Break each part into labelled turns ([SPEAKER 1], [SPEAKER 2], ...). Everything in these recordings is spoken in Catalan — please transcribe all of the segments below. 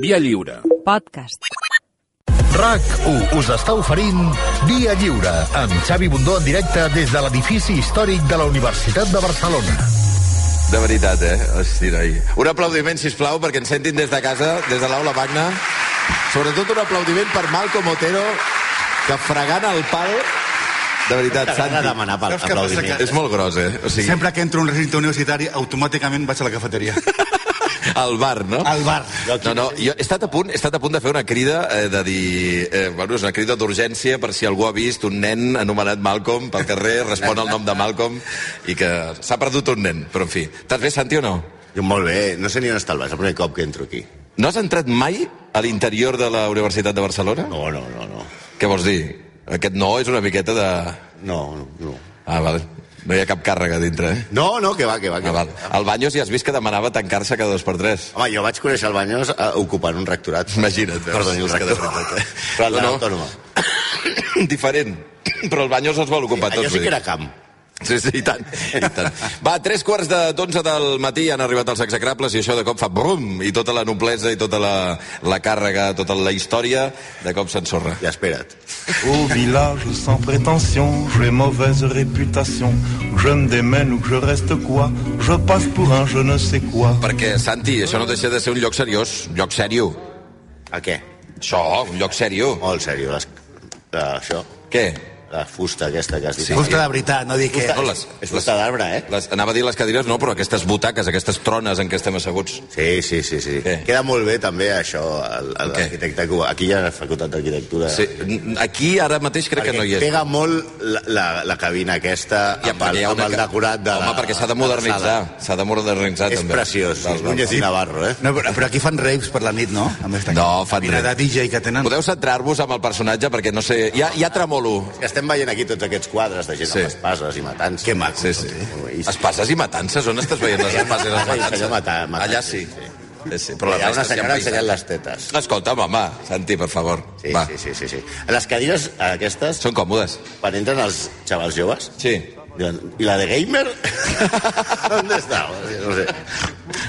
[SPEAKER 1] Via Lliure.
[SPEAKER 2] Podcast.
[SPEAKER 3] RAC1 us està oferint Via Lliure, amb Xavi Bundó en directe des de l'edifici històric de la Universitat de Barcelona.
[SPEAKER 4] De veritat, eh? Hosti, noi. Un aplaudiment, si plau, perquè ens sentin des de casa, des de l'aula magna. Sobretot un aplaudiment per Malcolm Otero, que fregant el pal... De veritat,
[SPEAKER 5] T'agrada
[SPEAKER 4] Santi.
[SPEAKER 5] demanar pel
[SPEAKER 6] Saps què passa,
[SPEAKER 5] aplaudiment.
[SPEAKER 6] que-
[SPEAKER 4] És molt gros, eh? O sigui,
[SPEAKER 6] Sempre que entro a un recinte universitari, automàticament vaig a la cafeteria.
[SPEAKER 4] al bar, no?
[SPEAKER 6] Al bar.
[SPEAKER 4] No, no, jo he estat a punt, he estat a punt de fer una crida eh, de dir... Eh, bueno, és una crida d'urgència per si algú ha vist un nen anomenat Malcolm pel carrer, respon al nom de Malcolm i que s'ha perdut un nen, però en fi. Estàs bé, Santi, o no?
[SPEAKER 5] Jo molt bé, no sé ni on està el bar, és el primer cop que entro aquí.
[SPEAKER 4] No has entrat mai a l'interior de la Universitat de Barcelona?
[SPEAKER 5] No, no, no, no.
[SPEAKER 4] Què vols dir? Aquest no és una miqueta de...
[SPEAKER 5] No, no, no.
[SPEAKER 4] Ah, val. No hi ha cap càrrega dintre, eh?
[SPEAKER 5] No, no, que va, que va, que
[SPEAKER 4] Ah,
[SPEAKER 5] va.
[SPEAKER 4] val. Al Baños ja has vist que demanava tancar-se cada dos per tres.
[SPEAKER 5] Home, jo vaig conèixer el Banyos eh, ocupant un rectorat.
[SPEAKER 4] Imagina't, veus?
[SPEAKER 5] Perdoni, el
[SPEAKER 4] És que de
[SPEAKER 5] rectorat.
[SPEAKER 4] veritat, eh?
[SPEAKER 5] Però el de
[SPEAKER 4] No, no.
[SPEAKER 5] l'autònoma.
[SPEAKER 4] Diferent. Però el Baños els vol ocupar
[SPEAKER 5] Allò
[SPEAKER 4] tots.
[SPEAKER 5] sí que
[SPEAKER 4] vull
[SPEAKER 5] era
[SPEAKER 4] dir.
[SPEAKER 5] camp.
[SPEAKER 4] Sí, sí, i tant, i tant. Va, a tres quarts de d'onze del matí han arribat els execrables i això de cop fa brum, i tota la noblesa i tota la, la càrrega, tota la història, de cop s'ensorra.
[SPEAKER 5] Ja, espera't.
[SPEAKER 7] Au village sans prétention, j'ai mauvaise réputation. Que Je me démène ou que je reste quoi Je passe pour un je ne sais quoi.
[SPEAKER 4] Perquè, Santi, això no deixa de ser un lloc seriós, lloc sèrio.
[SPEAKER 5] A què?
[SPEAKER 4] Això, un lloc sèrio.
[SPEAKER 5] Molt seriós, les... eh, això,
[SPEAKER 4] Què?
[SPEAKER 5] la fusta aquesta que has dit.
[SPEAKER 4] Sí.
[SPEAKER 5] Fusta,
[SPEAKER 6] Fusta de veritat, no dic que...
[SPEAKER 4] No, les,
[SPEAKER 5] és fusta d'arbre, eh?
[SPEAKER 4] les, anava a dir les cadires, no, però aquestes butaques, aquestes trones en què estem asseguts.
[SPEAKER 5] Sí, sí, sí. sí.
[SPEAKER 4] Què?
[SPEAKER 5] Queda molt bé també això, el- el-
[SPEAKER 4] Què?
[SPEAKER 5] l'arquitecte. que ho- Aquí hi ha la facultat d'arquitectura.
[SPEAKER 4] Sí, n- aquí ara mateix crec
[SPEAKER 5] perquè
[SPEAKER 4] que no hi és.
[SPEAKER 5] pega molt la, la, la cabina aquesta
[SPEAKER 4] Ja,
[SPEAKER 5] amb,
[SPEAKER 4] perquè
[SPEAKER 5] el,
[SPEAKER 4] hi ha
[SPEAKER 5] amb
[SPEAKER 4] una
[SPEAKER 5] el
[SPEAKER 4] ca-
[SPEAKER 5] decorat de
[SPEAKER 4] Home,
[SPEAKER 5] la,
[SPEAKER 4] perquè s'ha de
[SPEAKER 5] la
[SPEAKER 4] modernitzar.
[SPEAKER 5] sala.
[SPEAKER 4] S'ha de modernitzar,
[SPEAKER 5] És
[SPEAKER 4] també.
[SPEAKER 5] preciós,
[SPEAKER 4] Val,
[SPEAKER 5] és
[SPEAKER 4] val,
[SPEAKER 5] Núñez i Navarro, eh?
[SPEAKER 6] No, però, però aquí fan raves per la nit, no? A més, d'aquí.
[SPEAKER 4] No, fan
[SPEAKER 6] Mira, de
[SPEAKER 4] raves.
[SPEAKER 6] DJ que
[SPEAKER 4] val.
[SPEAKER 6] tenen.
[SPEAKER 4] Podeu centrar-vos amb el personatge, perquè no sé... Ja, ja tremolo.
[SPEAKER 5] Que estem veient aquí tots aquests quadres de gent
[SPEAKER 4] Sí.
[SPEAKER 5] amb espases i matants.
[SPEAKER 6] Que maco.
[SPEAKER 4] Sí, sí.
[SPEAKER 5] I-
[SPEAKER 4] Espases i matances, on estàs veient les espases i les
[SPEAKER 5] Sí,
[SPEAKER 4] matances?
[SPEAKER 5] allò mata- mata-
[SPEAKER 4] Allà sí.
[SPEAKER 5] sí,
[SPEAKER 4] Sí, sí.
[SPEAKER 5] Però
[SPEAKER 4] Però la
[SPEAKER 5] hi ha una
[SPEAKER 4] resta sí,
[SPEAKER 5] senyora
[SPEAKER 4] amb
[SPEAKER 5] ensenyant
[SPEAKER 4] paisatges.
[SPEAKER 5] les tetes.
[SPEAKER 4] Escolta'm, home, Santi, per favor.
[SPEAKER 5] Sí,
[SPEAKER 4] Va.
[SPEAKER 5] sí, sí, sí, sí. Les cadires aquestes,
[SPEAKER 4] Són còmodes.
[SPEAKER 5] quan entren els xavals joves,
[SPEAKER 4] Sí.
[SPEAKER 5] diuen, i la de gamer? On està? No sé.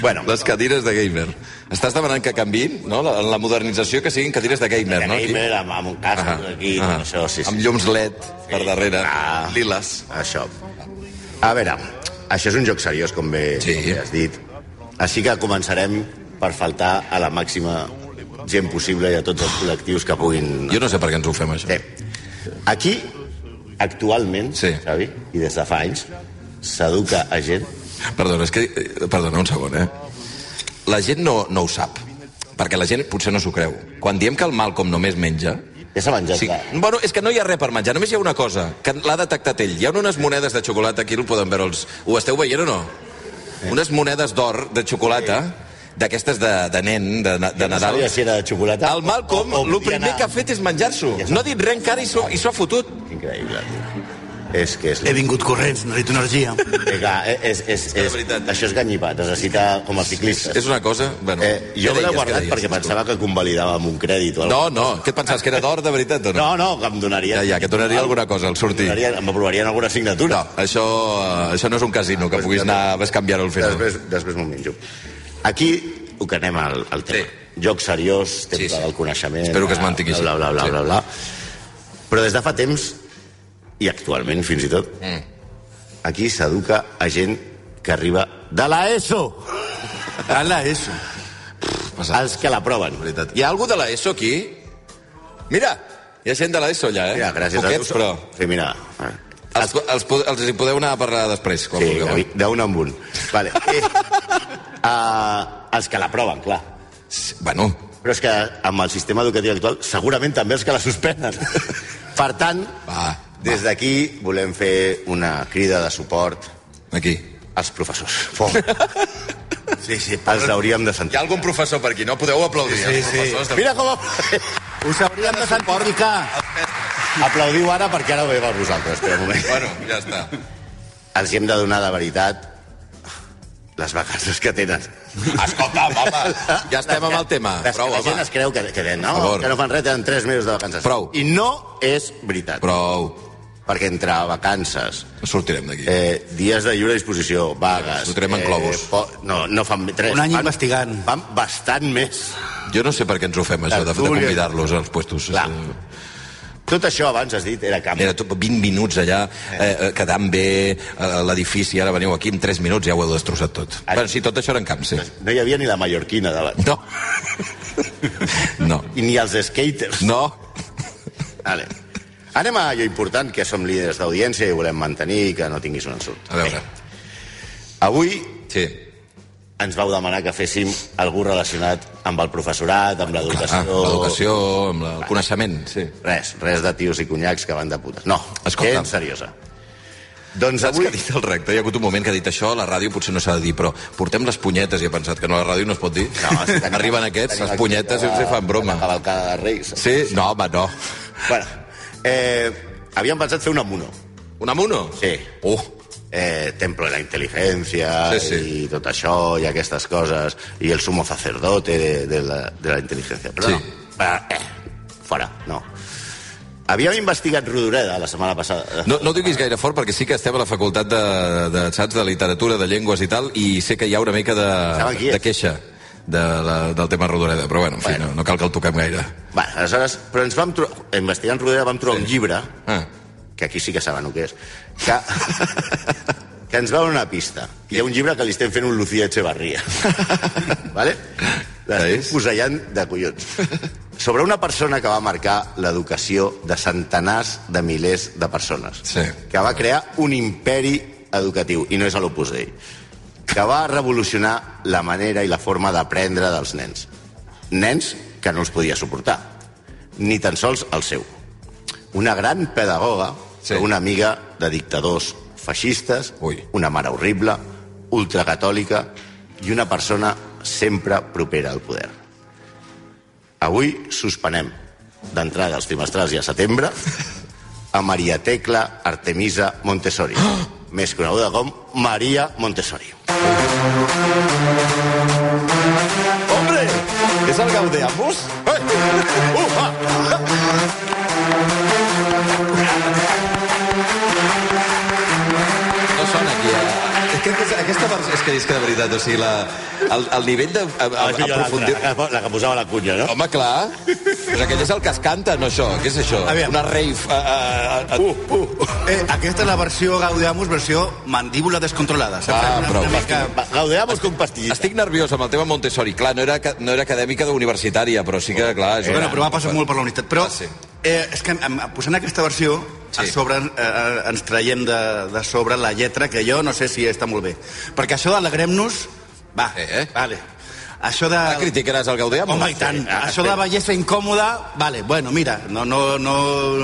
[SPEAKER 5] Bueno,
[SPEAKER 4] Les cadires de gamer. Estàs demanant que canviïn, no? La, la modernització que siguin cadires de gamer,
[SPEAKER 5] de
[SPEAKER 4] no? Aquí?
[SPEAKER 5] gamer amb, amb un casco aquí,
[SPEAKER 4] ah,
[SPEAKER 5] això, sí, sí.
[SPEAKER 4] Amb llums LED per darrere,
[SPEAKER 5] Ah.
[SPEAKER 4] liles.
[SPEAKER 5] Això. A veure, això és un joc seriós, com bé,
[SPEAKER 4] Sí.
[SPEAKER 5] sí. com bé has dit. Així que començarem per faltar a la màxima gent possible i a tots els col·lectius que puguin...
[SPEAKER 4] Jo no sé per què ens ho fem, això.
[SPEAKER 5] Bé, aquí, actualment,
[SPEAKER 4] Sí.
[SPEAKER 5] sí. Xavi, i des de fa anys, s'educa a gent...
[SPEAKER 4] Perdona, és que... eh, Perdona, un segon, eh? La gent no, no ho sap, perquè la gent potser no s'ho creu. Quan diem que el Malcolm només menja...
[SPEAKER 5] Ja s'ha menjat
[SPEAKER 4] Sí,
[SPEAKER 5] sí. la...
[SPEAKER 4] bueno, és que no hi ha res per menjar, només hi ha una cosa, que l'ha detectat ell. Hi ha unes monedes de xocolata, aquí ho poden veure els... Ho esteu veient o no?
[SPEAKER 5] Eh.
[SPEAKER 4] Unes monedes d'or de xocolata, d'aquestes de, de nen, de, na- de
[SPEAKER 5] No
[SPEAKER 4] Nadal.
[SPEAKER 5] sabia si era de xocolata...
[SPEAKER 4] El Malcolm,
[SPEAKER 5] o- o
[SPEAKER 4] el
[SPEAKER 5] podia
[SPEAKER 4] primer
[SPEAKER 5] anar-
[SPEAKER 4] que ha fet és menjar-s'ho.
[SPEAKER 5] Ja
[SPEAKER 4] No ha dit res encara i s'ho i s'ho ha fotut.
[SPEAKER 5] Increïble, tio. És que és...
[SPEAKER 6] He vingut corrents, necessito energia.
[SPEAKER 5] Eh, clar, eh, és, és,
[SPEAKER 4] de
[SPEAKER 5] és,
[SPEAKER 4] veritat. eh.
[SPEAKER 5] això és ganyipat, es necessita com els ciclistes.
[SPEAKER 4] És una cosa... Bueno,
[SPEAKER 5] Eh,
[SPEAKER 4] què
[SPEAKER 5] jo me l'he
[SPEAKER 4] deies,
[SPEAKER 5] guardat
[SPEAKER 4] què deies?
[SPEAKER 5] perquè pensava que convalidava amb un crèdit o alguna
[SPEAKER 4] No, no, què et pensaves, que era d'or de veritat o no?
[SPEAKER 5] No, no, que em donaria...
[SPEAKER 4] Ja, ja, que et donaria alguna cosa al sortir.
[SPEAKER 5] Donaria, m'aprovarien alguna
[SPEAKER 4] No,
[SPEAKER 5] assignatura.
[SPEAKER 4] això, eh, això no és un casino, que
[SPEAKER 5] doncs
[SPEAKER 4] puguis
[SPEAKER 5] ja no.
[SPEAKER 4] anar a canviar al final.
[SPEAKER 5] després després m'ho menjo. Aquí ho que anem al, al tema. Sí. Joc seriós, temple sí,
[SPEAKER 4] Sí, sí.
[SPEAKER 5] sí. del coneixement...
[SPEAKER 4] Espero que es mantingui així.
[SPEAKER 5] Bla, bla, bla,
[SPEAKER 4] Sí.
[SPEAKER 5] bla, bla, bla. Però des de fa temps, i actualment fins i tot,
[SPEAKER 4] Mm.
[SPEAKER 5] aquí s'educa a gent que arriba de l'ESO,
[SPEAKER 6] Hala, eso.
[SPEAKER 4] Passa.
[SPEAKER 5] els que l'aproven.
[SPEAKER 4] veritat. Hi ha algú de l'ESO aquí? Mira, hi ha gent de l'ESO allà, eh?
[SPEAKER 5] Mira, gràcies a
[SPEAKER 4] Poquets,
[SPEAKER 5] Déu.
[SPEAKER 4] però...
[SPEAKER 5] Sí, mira.
[SPEAKER 4] Els, els, po- els hi podeu anar a parlar després, quan
[SPEAKER 5] Sí,
[SPEAKER 4] vulgueu.
[SPEAKER 5] Gavi, d'un en un. Vale. Eh, uh, els que l'aproven, clar.
[SPEAKER 4] Sí, Bueno,
[SPEAKER 5] Però és que amb el sistema educatiu actual segurament també els que la suspenen. Per tant,
[SPEAKER 4] Va,
[SPEAKER 5] des d'aquí volem fer una crida de suport
[SPEAKER 4] aquí.
[SPEAKER 5] als professors.
[SPEAKER 6] Sí, sí.
[SPEAKER 5] Els hauríem de
[SPEAKER 4] Hi ha
[SPEAKER 5] sentir.
[SPEAKER 4] algun professor per aquí, no? Podeu aplaudir, eh,
[SPEAKER 6] Sí, sí.
[SPEAKER 5] Mira com...
[SPEAKER 6] Us hauríem de santificar.
[SPEAKER 5] Aplaudiu ara perquè ara ve per vosaltres. Espera un moment.
[SPEAKER 4] Bueno, ja està.
[SPEAKER 5] Els hi hem de donar de veritat les vacances que tenen.
[SPEAKER 4] Escolta, home, ja estem amb el tema.
[SPEAKER 5] Les,
[SPEAKER 4] Prou,
[SPEAKER 5] la gent
[SPEAKER 4] home.
[SPEAKER 5] es creu que, que, no,
[SPEAKER 4] favor.
[SPEAKER 5] que no fan res, tenen 3 mesos de vacances.
[SPEAKER 4] Prou.
[SPEAKER 5] I no és veritat.
[SPEAKER 4] Prou.
[SPEAKER 5] perquè entre vacances,
[SPEAKER 4] Sortirem d'aquí. Eh.
[SPEAKER 5] eh, dies de lliure disposició, vagues... eh,
[SPEAKER 4] Sortirem en globus.
[SPEAKER 5] po- no, no fan tres.
[SPEAKER 6] Un any
[SPEAKER 5] fan-
[SPEAKER 6] investigant.
[SPEAKER 5] Fan bastant més.
[SPEAKER 4] Jo no sé per què ens ho fem, això, de, de
[SPEAKER 5] Tertúlia.
[SPEAKER 4] convidar-los als puestos. Eh,
[SPEAKER 5] Clar. Tot això abans has dit era camp.
[SPEAKER 4] Era tot 20 minuts allà, eh, eh, quedant bé eh, l'edifici, ara veniu aquí, en 3 minuts ja ho heu destrossat tot.
[SPEAKER 5] Ah.
[SPEAKER 4] Però sí, tot això era en camp, sí.
[SPEAKER 5] No hi havia ni la mallorquina de la...
[SPEAKER 4] No. No.
[SPEAKER 5] i ni els skaters.
[SPEAKER 4] No.
[SPEAKER 5] Vale. Anem a allò important, que som líders d'audiència i volem mantenir i que no tinguis un ensurt.
[SPEAKER 4] A veure.
[SPEAKER 5] Avui
[SPEAKER 4] Sí.
[SPEAKER 5] ens vau demanar que féssim algú relacionat amb el professorat, amb
[SPEAKER 4] Ah,
[SPEAKER 5] l'educació...
[SPEAKER 4] L'educació, amb la- el coneixement, sí.
[SPEAKER 5] Res, res de tios i conyacs que van de putes. No,
[SPEAKER 4] Escolta'm.
[SPEAKER 5] gent seriosa. Doncs
[SPEAKER 4] Saps
[SPEAKER 5] avui...
[SPEAKER 4] que ha dit el rector? Hi ha hagut un moment que ha dit això, a la ràdio potser no s'ha de dir, però portem les punyetes i ha pensat que no, a la ràdio no es pot dir.
[SPEAKER 5] No, sí, tenim-
[SPEAKER 4] Arriben aquests,
[SPEAKER 5] tenim
[SPEAKER 4] les
[SPEAKER 5] aquí
[SPEAKER 4] punyetes, i
[SPEAKER 5] la-
[SPEAKER 4] els hi fan broma.
[SPEAKER 5] La cavalcada de Reis.
[SPEAKER 4] Sí? No, home, no.
[SPEAKER 5] Bueno, eh, havíem pensat fer un amuno.
[SPEAKER 4] Un amuno?
[SPEAKER 5] Sí.
[SPEAKER 4] Uh,
[SPEAKER 5] eh, Templo de la Inteligencia
[SPEAKER 4] Sí, sí.
[SPEAKER 5] i tot això i aquestes coses i el sumo sacerdote de, de, la, de la intel·ligència però
[SPEAKER 4] Sí.
[SPEAKER 5] no, va, eh, fora, no havíem investigat Rodoreda la setmana passada
[SPEAKER 4] no, no ho diguis gaire fort perquè sí que estem a la facultat de, de, saps, de literatura, de llengües i tal, i sé que hi ha una mica de,
[SPEAKER 5] Saben qui és.
[SPEAKER 4] de queixa de la, del tema Rodoreda, però bueno, en fi,
[SPEAKER 5] Bueno.
[SPEAKER 4] no, no cal que el toquem gaire.
[SPEAKER 5] va, aleshores, però ens vam trobar investigant Rodoreda vam trobar sí. un llibre
[SPEAKER 4] Ah,
[SPEAKER 5] que aquí sí que saben el que és que, que ens va donar una pista hi ha un llibre que li estem fent un Lucía Echevarría vale? l'estem
[SPEAKER 4] Veus?
[SPEAKER 5] fusellant de collons sobre una persona que va marcar l'educació de centenars de milers de persones
[SPEAKER 4] Sí.
[SPEAKER 5] que va crear un imperi educatiu i no és a l'Opus Dei que va revolucionar la manera i la forma d'aprendre dels nens nens que no els podia suportar ni tan sols el seu una gran pedagoga,
[SPEAKER 4] Sí.
[SPEAKER 5] sí. una amiga de dictadors feixistes,
[SPEAKER 4] Ui.
[SPEAKER 5] una mare horrible, ultracatòlica i una persona sempre propera al poder. Avui suspenem d'entrada als trimestrals i a setembre a Maria Tecla Artemisa Montessori, més coneguda com Maria Montessori. Hombre, és el Gaudeamus? Eh! Uh, ah!
[SPEAKER 4] no sona aquí, eh? És que és, aquesta versió, és que és que de veritat, o sigui, la, el, el nivell de... A,
[SPEAKER 5] Ah,
[SPEAKER 4] a,
[SPEAKER 5] sí, jo
[SPEAKER 4] aprofundir...
[SPEAKER 5] l'altra, la, que- la que posava la cunya, no?
[SPEAKER 4] Home, clar. Però aquell és el que es canta, no això. Què és això?
[SPEAKER 6] Aviam.
[SPEAKER 4] Una rave... A, a, a... Uh, uh.
[SPEAKER 6] Eh, aquesta és la versió Gaudiamus, versió mandíbula descontrolada. Saps?
[SPEAKER 4] Ah,
[SPEAKER 6] Una-
[SPEAKER 4] prou.
[SPEAKER 6] Una mica...
[SPEAKER 5] Va, Gaudeamos con pastillitas.
[SPEAKER 4] Estic nerviós amb el tema Montessori. Clar, no era, ca- no era acadèmica d'universitària, però sí que, clar... és
[SPEAKER 6] Eh,
[SPEAKER 4] una-
[SPEAKER 6] bueno, però va passar molt per la unitat. Però
[SPEAKER 4] Ah, sí.
[SPEAKER 6] eh, és que em, em- posant aquesta versió,
[SPEAKER 4] Sí.
[SPEAKER 6] sí. a sobre, eh, eh, ens traiem de, de sobre la lletra, que jo no sé si està molt bé. Perquè això d'alegrem-nos... Va,
[SPEAKER 4] Eh, eh?
[SPEAKER 6] vale. Això de...
[SPEAKER 4] Ah, criticaràs el Gaudià?
[SPEAKER 6] Home, i tant.
[SPEAKER 5] ah,
[SPEAKER 6] Això de
[SPEAKER 5] espera.
[SPEAKER 6] bellesa incòmoda, vale, bueno, mira, no, no, no,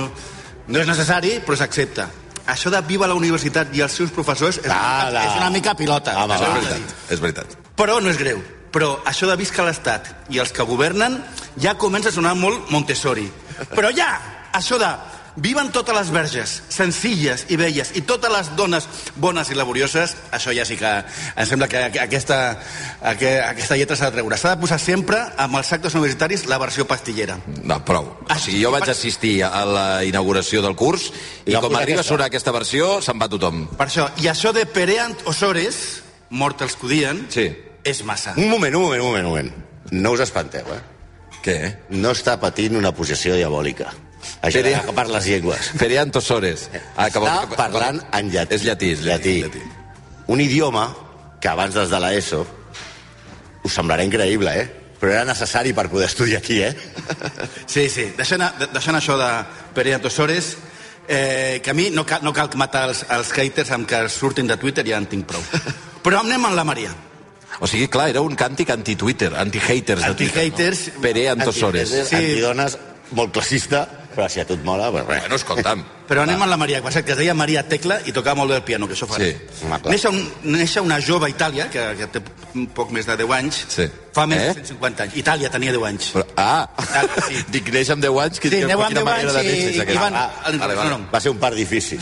[SPEAKER 6] no és necessari, però s'accepta. Això de viva la universitat i els seus professors és,
[SPEAKER 5] Ala.
[SPEAKER 6] és una mica pilota.
[SPEAKER 5] Home,
[SPEAKER 6] Això
[SPEAKER 5] va.
[SPEAKER 4] Ah, És
[SPEAKER 6] és veritat.
[SPEAKER 4] veritat, és veritat.
[SPEAKER 6] Però no és greu. Però això de visca l'Estat i els que governen ja comença a sonar molt Montessori. Però ja, això de viven totes les verges, senzilles i velles, i totes les dones bones i laborioses, això ja sí que em sembla que aqu- aquesta, aqu- aquesta lletra s'ha de treure. S'ha de posar sempre amb els actes universitaris la versió pastillera.
[SPEAKER 4] No, prou.
[SPEAKER 6] Ah,
[SPEAKER 4] O sigui, jo vaig assistir a la inauguració del curs i
[SPEAKER 5] I
[SPEAKER 4] com
[SPEAKER 5] va
[SPEAKER 4] arriba a
[SPEAKER 5] aquesta.
[SPEAKER 4] sonar aquesta versió, se'n va tothom.
[SPEAKER 6] Per això, i això de pereant osores, mort els que odien,
[SPEAKER 4] Sí.
[SPEAKER 6] és massa.
[SPEAKER 5] Un moment, un moment, un moment, un moment. No us espanteu, eh?
[SPEAKER 4] Què?
[SPEAKER 5] No està patint una possessió diabòlica. Això
[SPEAKER 4] Pere-
[SPEAKER 5] Pere... que per les llengües.
[SPEAKER 4] Feriantos Sores. Ah, que vol-
[SPEAKER 5] Està parlant en llatí.
[SPEAKER 4] És llatí, és llatí. llatí.
[SPEAKER 5] Un idioma que abans des de l'ESO us semblarà increïble, eh? Però era necessari per poder estudiar aquí, eh?
[SPEAKER 6] Sí, sí, deixant, de- deixant això de Pere Tosores, eh, que a mi no cal, no cal matar els, els haters amb que surtin de Twitter, ja en tinc prou. Però anem amb la Maria.
[SPEAKER 4] O sigui, clar, era un càntic anti-Twitter, anti-haters. de
[SPEAKER 6] Anti-haters.
[SPEAKER 4] Twitter, no? Pere Antosores.
[SPEAKER 5] Antidones,
[SPEAKER 6] Sí.
[SPEAKER 5] Antidones, molt classista, però si a tu et mola... Pues, res.
[SPEAKER 4] Bueno, escolta'm.
[SPEAKER 6] Però anem amb la Maria, que va ser que es deia Maria Tecla i tocava molt bé el piano, que això fa.
[SPEAKER 4] Sí,
[SPEAKER 5] home, clar.
[SPEAKER 6] Neix, un, neix una jove a Itàlia, que, que té poc més de 10 anys,
[SPEAKER 4] Sí.
[SPEAKER 6] fa més
[SPEAKER 4] Eh?
[SPEAKER 6] de 150 anys. Itàlia tenia 10 anys.
[SPEAKER 4] Però, ah,
[SPEAKER 6] Ah, sí.
[SPEAKER 4] dic, neix amb 10 anys? Que,
[SPEAKER 6] Sí,
[SPEAKER 4] que-
[SPEAKER 6] neu amb
[SPEAKER 4] quina
[SPEAKER 6] 10
[SPEAKER 4] manera
[SPEAKER 6] anys
[SPEAKER 4] de néixer
[SPEAKER 6] i-
[SPEAKER 4] és
[SPEAKER 6] i
[SPEAKER 4] aquesta?
[SPEAKER 6] van-
[SPEAKER 4] Ah,
[SPEAKER 6] el-
[SPEAKER 4] vale, vale.
[SPEAKER 6] no, no.
[SPEAKER 5] Va ser un part difícil.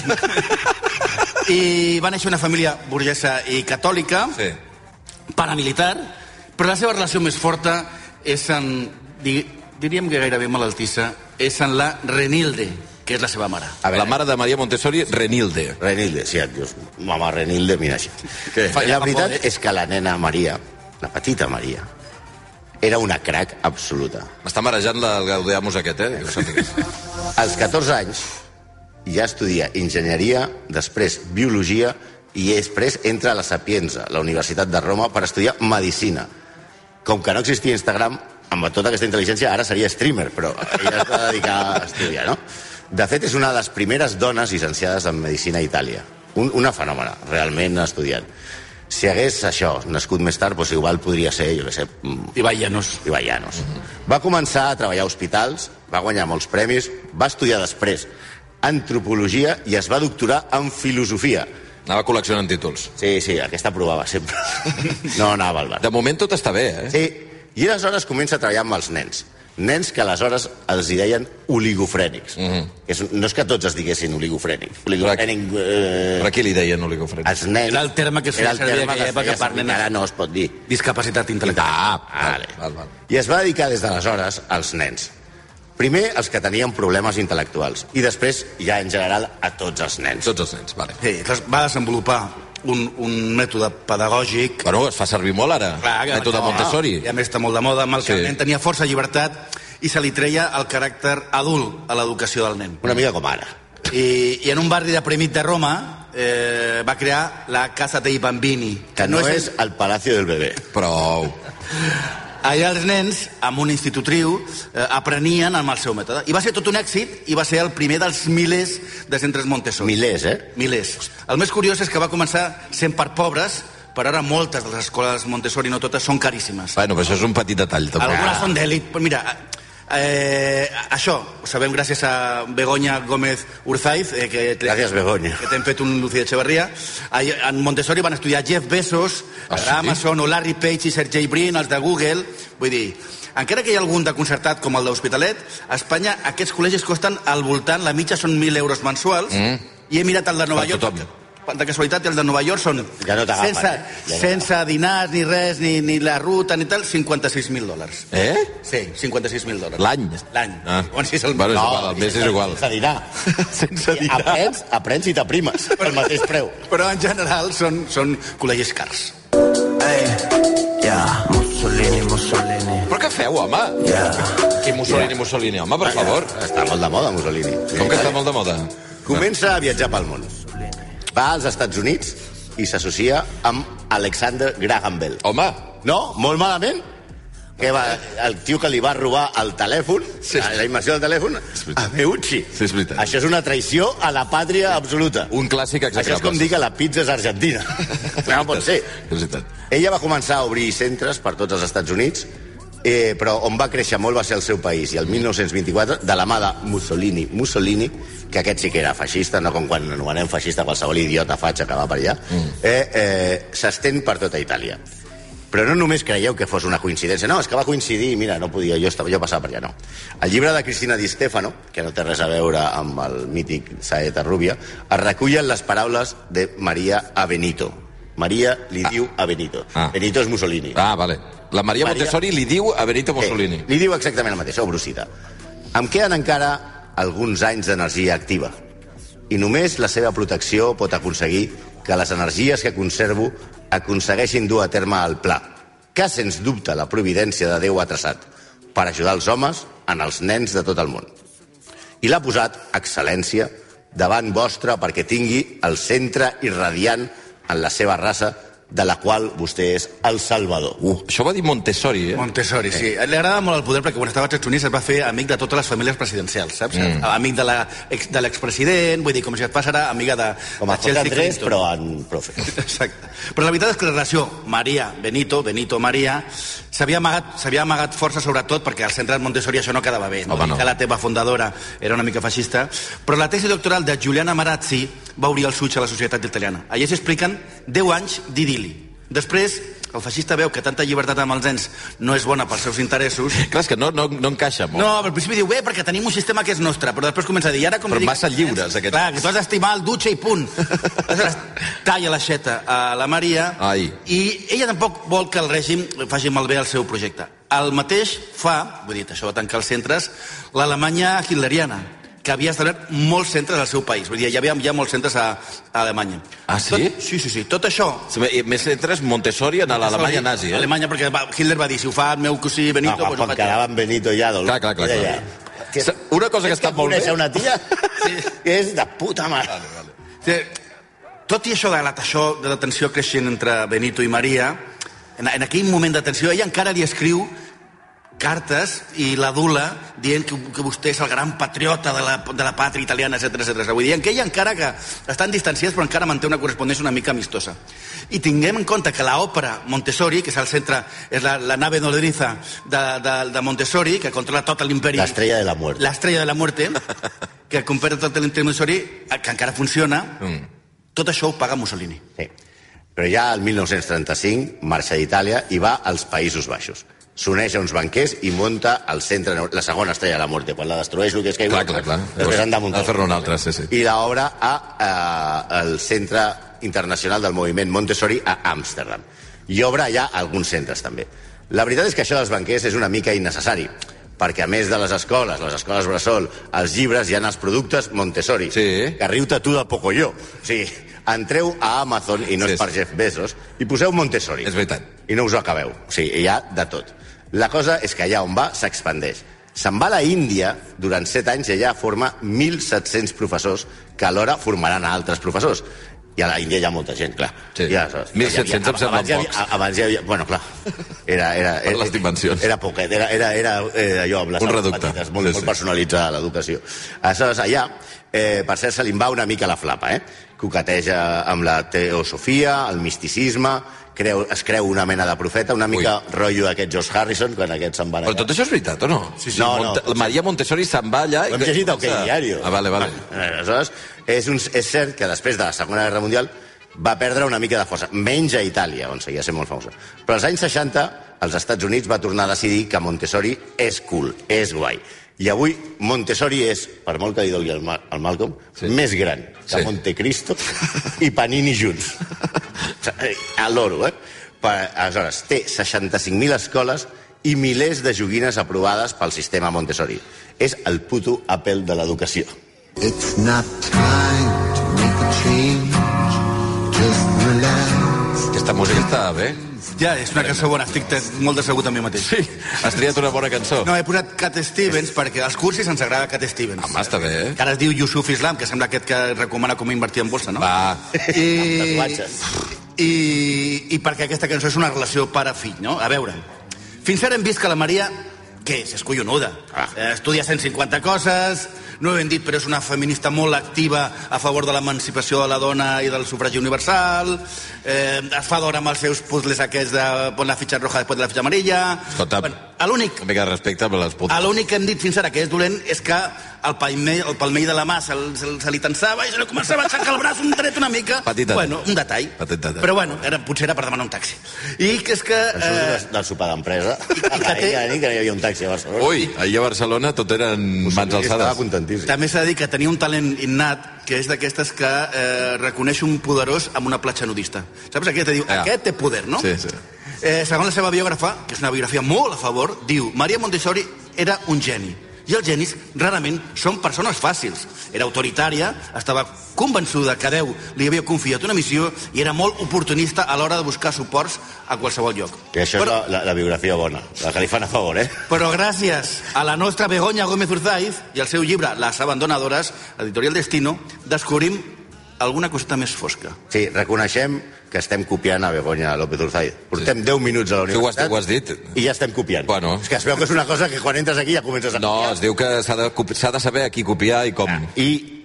[SPEAKER 6] I va néixer una família burgesa i catòlica.
[SPEAKER 4] Sí.
[SPEAKER 6] paramilitar, però la seva relació més forta és en, di, diríem que gairebé malaltissa, és en la Renilde, que que és la seva mare.
[SPEAKER 5] A veure.
[SPEAKER 4] La mare de Maria Montessori, Renilde.
[SPEAKER 5] Renilde, sí, et dius, mama Renilde, mira així.
[SPEAKER 4] Què?
[SPEAKER 5] Fa-
[SPEAKER 6] Fa
[SPEAKER 5] La
[SPEAKER 6] por,
[SPEAKER 5] veritat
[SPEAKER 6] eh?
[SPEAKER 5] és que la nena Maria, la petita Maria, era una crac absoluta.
[SPEAKER 4] M'està marejant la- el Gaudeamus aquest, eh? Que ho sàpigues.
[SPEAKER 5] Als 14 anys ja estudia enginyeria, després biologia i després entra a la Sapienza, la Universitat de Roma, per estudiar medicina. Com que no existia Instagram, amb tota aquesta intel·ligència ara seria streamer, però ella es va dedicar a estudiar, no? De fet, és una de les primeres dones llicenciades en medicina a Itàlia. Un, una fenòmena, realment estudiant. Si hagués això nascut més tard, doncs igual podria ser, jo què sé, mm,
[SPEAKER 6] I veianos.
[SPEAKER 5] i Baianos. Va començar a treballar a hospitals, va guanyar molts premis, va estudiar després antropologia i es va doctorar en filosofia.
[SPEAKER 4] Anava col·leccionant títols.
[SPEAKER 5] Sí, sí, aquesta provava sempre. No anava al bar.
[SPEAKER 4] De moment tot està bé, eh?
[SPEAKER 5] Sí, i aleshores comença a treballar amb els nens. Nens que aleshores els hi deien oligofrènics.
[SPEAKER 6] Mhm.
[SPEAKER 5] que és, no és que tots es diguessin oligofrènic. Oligofrènic... Eh,
[SPEAKER 4] Per aquí li deien oligofrènic.
[SPEAKER 6] Ah,
[SPEAKER 5] els nens...
[SPEAKER 6] Era el terme que es
[SPEAKER 5] era
[SPEAKER 6] feia
[SPEAKER 5] el
[SPEAKER 6] servir
[SPEAKER 5] terme
[SPEAKER 6] en
[SPEAKER 5] que
[SPEAKER 6] aquella
[SPEAKER 5] es feia
[SPEAKER 6] època per
[SPEAKER 5] servir,
[SPEAKER 6] nenes.
[SPEAKER 5] Ara no es pot dir.
[SPEAKER 6] Discapacitat intel·lectual.
[SPEAKER 5] Ah, vale.
[SPEAKER 4] val, val.
[SPEAKER 5] I es va dedicar des d'aleshores als nens. Primer els que tenien problemes intel·lectuals i després ja en general a tots els nens.
[SPEAKER 4] Tots els nens, vale.
[SPEAKER 6] Ah, Sí, clar, va desenvolupar un, un mètode pedagògic
[SPEAKER 4] Bueno, es fa servir molt ara. Mètode
[SPEAKER 6] no,
[SPEAKER 4] Montessori.
[SPEAKER 6] I a més està molt de moda, amb el que
[SPEAKER 4] Sí.
[SPEAKER 6] el nen tenia força llibertat i se li treia el caràcter adult a l'educació del nen.
[SPEAKER 5] Una mica com ara.
[SPEAKER 6] I, I en un barri deprimit de Roma eh, va crear la Casa dei Bambini.
[SPEAKER 5] Que no, és el Palacio del Bebé.
[SPEAKER 4] Prou.
[SPEAKER 6] Allà els nens, amb un institutriu, eh, aprenien amb el seu mètode. I va ser tot un èxit i va ser el primer dels milers de centres Montessori.
[SPEAKER 5] Milers, eh?
[SPEAKER 6] Milers. El més curiós és que va començar sent per pobres, però ara moltes de les escoles Montessori, no totes, són caríssimes.
[SPEAKER 4] Bueno, però això és un petit detall, també.
[SPEAKER 6] Algunes són d'èlit, però mira, eh, això ho sabem gràcies a Begoña Gómez Urzaiz, eh, que,
[SPEAKER 5] Gràcies, Begoña.
[SPEAKER 6] que t'hem fet un Lucía Echeverría. Ahí, en Montessori van estudiar Jeff Bezos,
[SPEAKER 4] Ah, sí?
[SPEAKER 6] ah, Amazon, o Larry Page i Sergey Brin, els de Google. Vull dir, encara que hi ha algun de concertat com el d'Hospitalet, a Espanya aquests col·legis costen al voltant, la mitja són 1.000 euros mensuals, mm. i he mirat el de Nova
[SPEAKER 4] Per
[SPEAKER 6] York,
[SPEAKER 4] tothom.
[SPEAKER 6] de casualitat, i el de Nova York són
[SPEAKER 5] Ja no t'agafen,
[SPEAKER 6] sense,
[SPEAKER 5] eh? Ja no
[SPEAKER 6] sense dinars, ni res, ni, ni la ruta, ni tal, 56.000 dòlars.
[SPEAKER 4] Eh?
[SPEAKER 6] Sí, 56.000 dòlars.
[SPEAKER 4] L'any?
[SPEAKER 6] L'any.
[SPEAKER 4] Ah.
[SPEAKER 6] Bueno, sí, és el...
[SPEAKER 4] Bueno, és
[SPEAKER 6] No,
[SPEAKER 4] igual, el mes és igual.
[SPEAKER 5] Sense dinar.
[SPEAKER 4] Sense dinar.
[SPEAKER 5] Aprens, aprens i t'aprimes pel mateix preu.
[SPEAKER 6] Però en general són, són col·legis cars.
[SPEAKER 1] Yeah, Mussolini, Mussolini.
[SPEAKER 4] Però què feu, home?
[SPEAKER 1] Yeah.
[SPEAKER 4] I Mussolini, Mussolini, home, per favor.
[SPEAKER 5] Està molt de moda, Mussolini.
[SPEAKER 4] Com que està molt de moda?
[SPEAKER 5] Comença a viatjar pel món. Va als Estats Units i s'associa amb Alexander Graham Bell.
[SPEAKER 4] Home,
[SPEAKER 5] No? Molt malament? Que va, el tio que li va robar el telèfon, sí. la immersió del telèfon, a Meucci.
[SPEAKER 4] Sí, és veritat.
[SPEAKER 5] Això és una traïció a la pàtria absoluta.
[SPEAKER 4] un clàssic
[SPEAKER 5] Això
[SPEAKER 4] execrable.
[SPEAKER 5] és com dir que la pizza és argentina. No pot ser.
[SPEAKER 4] És veritat.
[SPEAKER 5] Ella va començar a obrir centres per tots els Estats Units, eh, però on va créixer molt va ser el seu país. I el 1924, de la mà de Mussolini, Mussolini, que aquest sí que era feixista, no com quan anomenem feixista qualsevol idiota fatxa que va per allà,
[SPEAKER 4] Mm.
[SPEAKER 5] eh, eh, s'estén per tota Itàlia. Però no només creieu que fos una coincidència. No, és que va coincidir, mira, no podia, jo, estava, jo passava per allà, no. El llibre de Cristina Di Stefano, que no té res a veure amb el mític Saeta Rubia, es recullen les paraules de Maria a Benito. Maria li diu a Benito.
[SPEAKER 4] Ah.
[SPEAKER 5] Benito és Mussolini.
[SPEAKER 4] Ah, vale. La Maria,
[SPEAKER 5] Maria-
[SPEAKER 4] Montessori li diu a Benito Mussolini.
[SPEAKER 5] Eh, li diu exactament el mateix, obro cita. Em queden encara alguns anys d'energia activa i només la seva protecció pot aconseguir que les energies que conservo aconsegueixin dur a terme el pla que, sens dubte, la providència de Déu ha traçat per ajudar els homes en els nens de tot el món. I l'ha posat, excel·lència, davant vostra perquè tingui el centre irradiant en la seva raça de la qual vostè és el salvador. Uh.
[SPEAKER 4] Això va dir Montessori, eh?
[SPEAKER 6] Montessori, sí. Li agrada molt el poder perquè quan estava als Estats Units es va fer amic de totes les famílies presidencials, saps? Mm. Amic de la- ex- de l'expresident, vull dir, com si et passarà amiga de,
[SPEAKER 5] Com a
[SPEAKER 6] de
[SPEAKER 5] José
[SPEAKER 6] Chelsea
[SPEAKER 5] Andrés,
[SPEAKER 6] Clinton.
[SPEAKER 5] però en profe.
[SPEAKER 6] Exacte. Però la veritat és que la relació Maria-Benito, Benito-Maria, s'havia amagat, s'havia amagat força sobretot perquè al centre del Montessori això no quedava bé. No?
[SPEAKER 4] Home,
[SPEAKER 6] Dic
[SPEAKER 4] no.
[SPEAKER 6] Que la teva fundadora era una mica feixista. Però la tesi doctoral de Giuliana Marazzi va obrir els ulls a la societat italiana. Allà s'expliquen 10 anys d'idili. Després, el feixista veu que tanta llibertat amb els nens no és bona pels seus interessos
[SPEAKER 4] Clar, és que no, no, no encaixa molt.
[SPEAKER 6] no, al principi diu, bé, perquè tenim un sistema que és nostre, però després comença a dir, i ara com...
[SPEAKER 4] Però
[SPEAKER 6] li dic-
[SPEAKER 4] massa lliures, aquests.
[SPEAKER 6] Clar, que tu has d'estimar el dutxa i punt. Aleshores, talla l'aixeta a la Maria
[SPEAKER 4] Ai.
[SPEAKER 6] i ella tampoc vol que el règim faci malbé el seu projecte. El mateix fa, vull dir, això de tancar els centres, l'Alemanya hitleriana. que havia establert molts centres al seu país. Vull dir, hi havia ja molts centres a, a Alemanya.
[SPEAKER 4] Ah, sí?
[SPEAKER 6] Tot, sí, sí, sí. Tot això...
[SPEAKER 4] I Més centres Montessori en l'Alemanya nazi, eh? Ah,
[SPEAKER 6] Alemanya, perquè va- Hitler va dir, si ho fa el meu cosí Benito...
[SPEAKER 5] No,
[SPEAKER 6] doncs ho
[SPEAKER 5] quan
[SPEAKER 6] faig jo".
[SPEAKER 5] quedaven Ah, Benito i Adolf.
[SPEAKER 4] Clar, clar, clar, clar. Sa- Una cosa que està molt
[SPEAKER 5] Coneix
[SPEAKER 4] bé...
[SPEAKER 5] a una tia
[SPEAKER 6] Sí.
[SPEAKER 5] que és de puta mare.
[SPEAKER 6] Sí, Tot i això de la, això de la tensió creixent entre Benito i Maria, en, en aquell moment de tensió, ella encara li escriu cartes i l'adula dient que, que vostè és el gran patriota de la, de la pàtria italiana, etc etc. Vull dir, que ella encara que estan distanciats però encara manté una correspondència una mica amistosa. I tinguem en compte que l'òpera Montessori, que és el centre, és la, la nave nodriza de, de, de Montessori, que controla tot l'imperi...
[SPEAKER 5] L'estrella de la mort.
[SPEAKER 6] L'estrella de la muerte, que compara tot l'Imperi Montessori, que encara funciona, mm. tot això ho paga Mussolini.
[SPEAKER 5] Sí. Però ja al 1935 marxa d'Itàlia i va als Països Baixos. S'uneix a uns banquers i munta el centre, la segona estrella de la mort. Quan la destrueix, el que és que
[SPEAKER 4] Clar, clar, clar.
[SPEAKER 5] Després han de muntar.
[SPEAKER 4] A fer-ne una altra, sí, sí.
[SPEAKER 5] I l'obra al eh, Centre Internacional del Moviment Montessori a Amsterdam. I obre allà alguns centres, també. La veritat és que això dels banquers és una mica innecessari, perquè a més de les escoles, les escoles bressol, els llibres, hi ha els productes Montessori.
[SPEAKER 4] Sí.
[SPEAKER 5] Que riu-te tu de poco jo. O sigui, entreu a Amazon, i no
[SPEAKER 4] Sí,
[SPEAKER 5] és per
[SPEAKER 4] sí.
[SPEAKER 5] Jeff Bezos, i poseu Montessori.
[SPEAKER 4] És veritat.
[SPEAKER 5] I no us ho acabeu. O sigui, hi ha de tot. La cosa és que allà on va s'expandeix. Se'n va a la Índia durant 7 anys i allà forma 1.700 professors que alhora formaran a altres professors. I a la Índia hi ha molta gent, clar.
[SPEAKER 4] Sí.
[SPEAKER 5] Ja, saps?
[SPEAKER 4] 1.700 em semblen
[SPEAKER 5] abans, hi havia-
[SPEAKER 4] pocs.
[SPEAKER 5] Abans hi havia... Bueno, clar. Era, era,
[SPEAKER 4] Per les dimensions.
[SPEAKER 5] Era poquet. Era, era, era eh, allò amb les
[SPEAKER 4] Un
[SPEAKER 5] aules
[SPEAKER 4] reducte.
[SPEAKER 5] petites, Molt,
[SPEAKER 4] Sí,
[SPEAKER 5] molt
[SPEAKER 4] sí.
[SPEAKER 5] personalitzar l'educació. Aleshores, allà, eh, per cert, se li en va una mica la flapa, eh? Coqueteja amb la teosofia, el misticisme, creu, es creu una mena de profeta, una mica Ui. rotllo d'aquest George Harrison, quan aquests se'n van
[SPEAKER 4] Però
[SPEAKER 5] allà.
[SPEAKER 4] tot això és veritat, o no?
[SPEAKER 5] sí. No, no,
[SPEAKER 4] Monte-
[SPEAKER 5] potser-
[SPEAKER 4] Maria Montessori se'n va allà... i-
[SPEAKER 5] Ho hem llegit a OK
[SPEAKER 4] Ah,
[SPEAKER 5] Diario.
[SPEAKER 4] Ah, vale, vale.
[SPEAKER 5] Eh, Aleshores, és, un, és cert que després de la Segona Guerra Mundial va perdre una mica de força, menys a Itàlia, on seguia sent molt famosa. Però als anys 60, els Estats Units va tornar a decidir que Montessori és cool, és guai. I avui Montessori és, per molt que li dolgui el, Ma el Malcolm, sí. més gran que
[SPEAKER 4] Sí.
[SPEAKER 5] sí. Montecristo i Panini junts. A l'oro, eh? Per, aleshores, té 65.000 escoles i milers de joguines aprovades pel sistema Montessori. És el puto Apple de l'educació.
[SPEAKER 2] It's not time to make a change. Just relax.
[SPEAKER 4] Aquesta música està bé.
[SPEAKER 6] Ja, és una cançó bona, estic te- molt decebut amb mi mateix.
[SPEAKER 4] Sí, has triat una bona cançó.
[SPEAKER 6] No, he posat Cat Stevens perquè als cursis ens agrada Cat Stevens.
[SPEAKER 4] Home, està bé, eh?
[SPEAKER 6] Que ara es diu Yusuf Islam, que sembla aquest que recomana com invertir en bolsa, no?
[SPEAKER 4] Va.
[SPEAKER 6] I,
[SPEAKER 5] tatuatges.
[SPEAKER 6] i, I perquè aquesta cançó és una relació pare-fill, no? A veure, fins ara hem vist que la Maria, què és? És collonuda.
[SPEAKER 5] Ah.
[SPEAKER 6] Eh, Estudia 150 coses, no ho hem dit, però és una feminista molt activa a favor de l'emancipació de la dona i del sufragi universal, eh, es fa d'hora amb els seus puzzles aquests de pon la fitxa roja després de la fitxa amarilla...
[SPEAKER 4] Escolta,
[SPEAKER 6] a l'únic
[SPEAKER 4] Una mica de respecte per les
[SPEAKER 6] a
[SPEAKER 4] putes.
[SPEAKER 6] l'únic que hem dit fins ara que és dolent és que el palmell, el palmell de la mà se, se, se li tensava i se li començava a aixecar el braç un tret una mica.
[SPEAKER 4] Petit detall.
[SPEAKER 6] Bueno, un detall.
[SPEAKER 4] Petit detall.
[SPEAKER 6] Però bueno, era, potser era per demanar un taxi. I que és que... eh,
[SPEAKER 5] Això és del sopar d'empresa. A la
[SPEAKER 6] té-
[SPEAKER 5] nit Eh. que no hi havia un taxi a Barcelona.
[SPEAKER 4] Ui, ahir a Barcelona tot eren mans
[SPEAKER 5] Estava
[SPEAKER 4] alçades.
[SPEAKER 5] contentíssim.
[SPEAKER 6] També s'ha de dir que tenia un talent innat que és d'aquestes que eh, reconeix un poderós amb una platja nudista. Saps? Aquest te diu,
[SPEAKER 4] Ah.
[SPEAKER 6] aquest té poder, no?
[SPEAKER 4] Sí, sí.
[SPEAKER 6] Eh, segons la seva biògrafa, que és una biografia molt a favor, diu, Maria Montessori era un geni. I els genis rarament són persones fàcils. Era autoritària, estava convençuda que Déu li havia confiat una missió i era molt oportunista a l'hora de buscar suports a qualsevol lloc.
[SPEAKER 5] Que això
[SPEAKER 6] Però-
[SPEAKER 5] és la, la, la biografia bona, la que li fan a favor, eh?
[SPEAKER 6] però gràcies a la nostra Begoña Gómez Urzaiz i al seu llibre Les abandonadores, editorial Destino, descobrim alguna coseta més fosca.
[SPEAKER 5] Sí, reconeixem que estem copiant a Begoña López Urzaiz. Portem 10 minuts a la
[SPEAKER 4] Tu ho has-
[SPEAKER 5] universitat...
[SPEAKER 4] ho has dit.
[SPEAKER 5] I ja estem copiant.
[SPEAKER 4] Bueno.
[SPEAKER 5] És que es veu que és una cosa que quan entres aquí ja comences a
[SPEAKER 4] No,
[SPEAKER 5] copiar.
[SPEAKER 4] es diu que s'ha de, copi- s'ha de saber a qui copiar i com.
[SPEAKER 5] I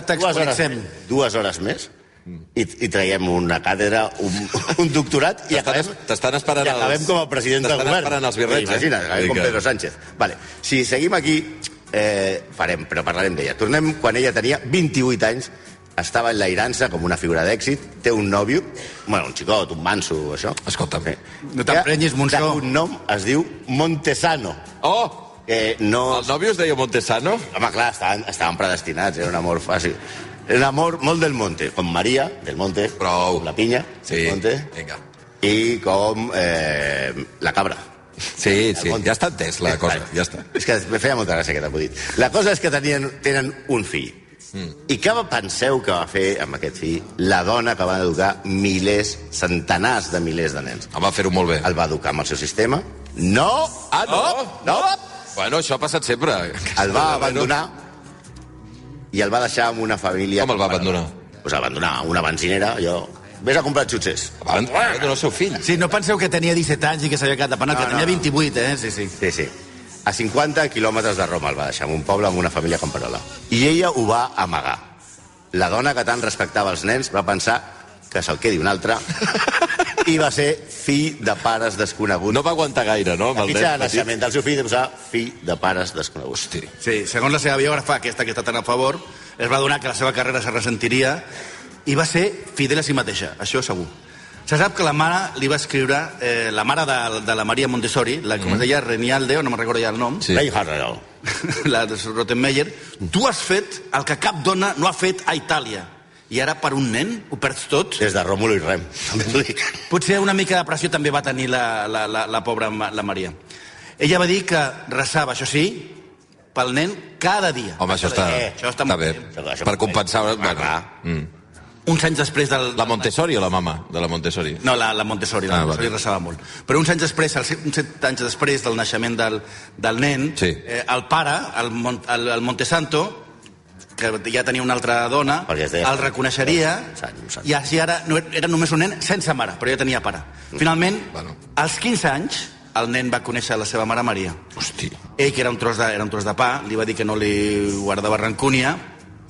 [SPEAKER 6] Intertextualitzem.
[SPEAKER 5] hores, dues hores més
[SPEAKER 4] Mm.
[SPEAKER 5] i, i traiem una càtedra, un, un doctorat i
[SPEAKER 4] T'estan-
[SPEAKER 5] acabem,
[SPEAKER 4] t'estan esperant
[SPEAKER 5] i acabem
[SPEAKER 4] els-
[SPEAKER 5] com a president del
[SPEAKER 4] t'estan
[SPEAKER 5] govern.
[SPEAKER 4] esperant els birrets, eh?
[SPEAKER 5] Imagina't, acabem com
[SPEAKER 4] Vinga.
[SPEAKER 5] Pedro Sánchez. Vale. Si seguim aquí, eh, farem, però parlarem d'ella. Tornem quan ella tenia 28 anys, estava enlairant-se com una figura d'èxit, té un nòvio, bueno, un xicot, un manso, això.
[SPEAKER 4] Escolta'm.
[SPEAKER 6] No t'emprenyis, Montsó.
[SPEAKER 5] Un nom es diu Montesano.
[SPEAKER 4] Oh!
[SPEAKER 5] Eh, no...
[SPEAKER 4] El nòvio es deia Montesano?
[SPEAKER 5] Home, clar, estaven, estaven predestinats, era un amor fàcil. Era un amor molt del monte, com Maria, del monte,
[SPEAKER 4] Prou.
[SPEAKER 5] com la pinya,
[SPEAKER 4] Sí.
[SPEAKER 5] del monte,
[SPEAKER 4] Vinga.
[SPEAKER 5] i com eh, la cabra.
[SPEAKER 4] Sí, sí, ja està entès la
[SPEAKER 5] Eh,
[SPEAKER 4] cosa,
[SPEAKER 5] vale.
[SPEAKER 4] ja està.
[SPEAKER 5] És que me feia molta gràcia aquest acudit. La cosa és que tenien, tenen un fill. Mm. I què va- penseu que va fer amb aquest fill la dona que va educar milers, centenars de milers de nens?
[SPEAKER 4] Em va fer-ho molt bé.
[SPEAKER 5] El va educar amb el seu sistema? No! Ah, no! No!
[SPEAKER 4] Bueno, això ha passat sempre.
[SPEAKER 5] El va abandonar i el va deixar amb una família...
[SPEAKER 4] Com el va abandonar?
[SPEAKER 5] Pues abandonar a una benzinera, allò... Vés a comprar xutxes.
[SPEAKER 4] Va abandonar el seu fill.
[SPEAKER 6] Sí, no penseu que tenia 17 anys i que s'havia quedat de penal,
[SPEAKER 5] No,
[SPEAKER 6] que
[SPEAKER 5] no,
[SPEAKER 6] tenia
[SPEAKER 5] no.
[SPEAKER 6] 28, eh? Sí, sí.
[SPEAKER 5] Sí, sí. A 50 quilòmetres de Roma el va deixar, en un poble amb una família camperola. I ella ho va amagar. La dona que tant respectava els nens va pensar que se'l quedi un altre i va ser fill de pares desconeguts.
[SPEAKER 4] No va aguantar gaire, no?
[SPEAKER 5] la
[SPEAKER 4] Amb el
[SPEAKER 5] fitxa de
[SPEAKER 4] nen petit.
[SPEAKER 5] naixement del seu fill de posar fill de pares desconeguts. Hosti.
[SPEAKER 6] Sí, segons la seva biògrafa, aquesta que està tan a favor, es va donar que la seva carrera se ressentiria i va ser fidel a si mateixa, això segur. Se sap que la mare li va escriure, eh, la mare de, de la Maria Montessori, la, com es deia, Renialde, o no me'n recordo ja el nom,
[SPEAKER 4] Sí.
[SPEAKER 5] Sí. Harrell.
[SPEAKER 6] la de Rottenmeier, tu has fet el que cap dona no ha fet a Itàlia. I ara per un nen ho perds tot?
[SPEAKER 5] Des de Ròmulo i Rem, també t'ho dic.
[SPEAKER 6] Potser una mica de pressió també va tenir la, la, la, la pobra Ma- la Maria. Ella va dir que resava, això sí, pel nen cada dia.
[SPEAKER 4] Home, això està,
[SPEAKER 6] Eh, això
[SPEAKER 4] està
[SPEAKER 6] està, molt
[SPEAKER 4] bé.
[SPEAKER 5] Això-
[SPEAKER 4] Per compensar...
[SPEAKER 5] Ah,
[SPEAKER 4] Bueno,
[SPEAKER 5] clar.
[SPEAKER 4] mm.
[SPEAKER 6] Uns anys després del...
[SPEAKER 4] La Montessori o la mama de la Montessori?
[SPEAKER 6] No, la, la Montessori, la
[SPEAKER 4] Ah,
[SPEAKER 6] Montessori
[SPEAKER 4] vale.
[SPEAKER 6] resava molt. Però uns anys després, els, uns set anys després del naixement del, del nen,
[SPEAKER 4] Sí.
[SPEAKER 6] eh, el pare, el, Mon- el, el Montesanto, que ja tenia una altra dona,
[SPEAKER 5] Perquè es deia-
[SPEAKER 6] el reconeixeria,
[SPEAKER 5] Sant, sant.
[SPEAKER 6] i així ara no, era- era només un nen sense mare, però ja tenia pare. Finalment,
[SPEAKER 4] Mm, Bueno.
[SPEAKER 6] als 15 anys, el nen va conèixer la seva mare Maria.
[SPEAKER 4] Hosti.
[SPEAKER 6] Ell, que era un tros de, era un tros de pa, li va dir que no li guardava rancúnia,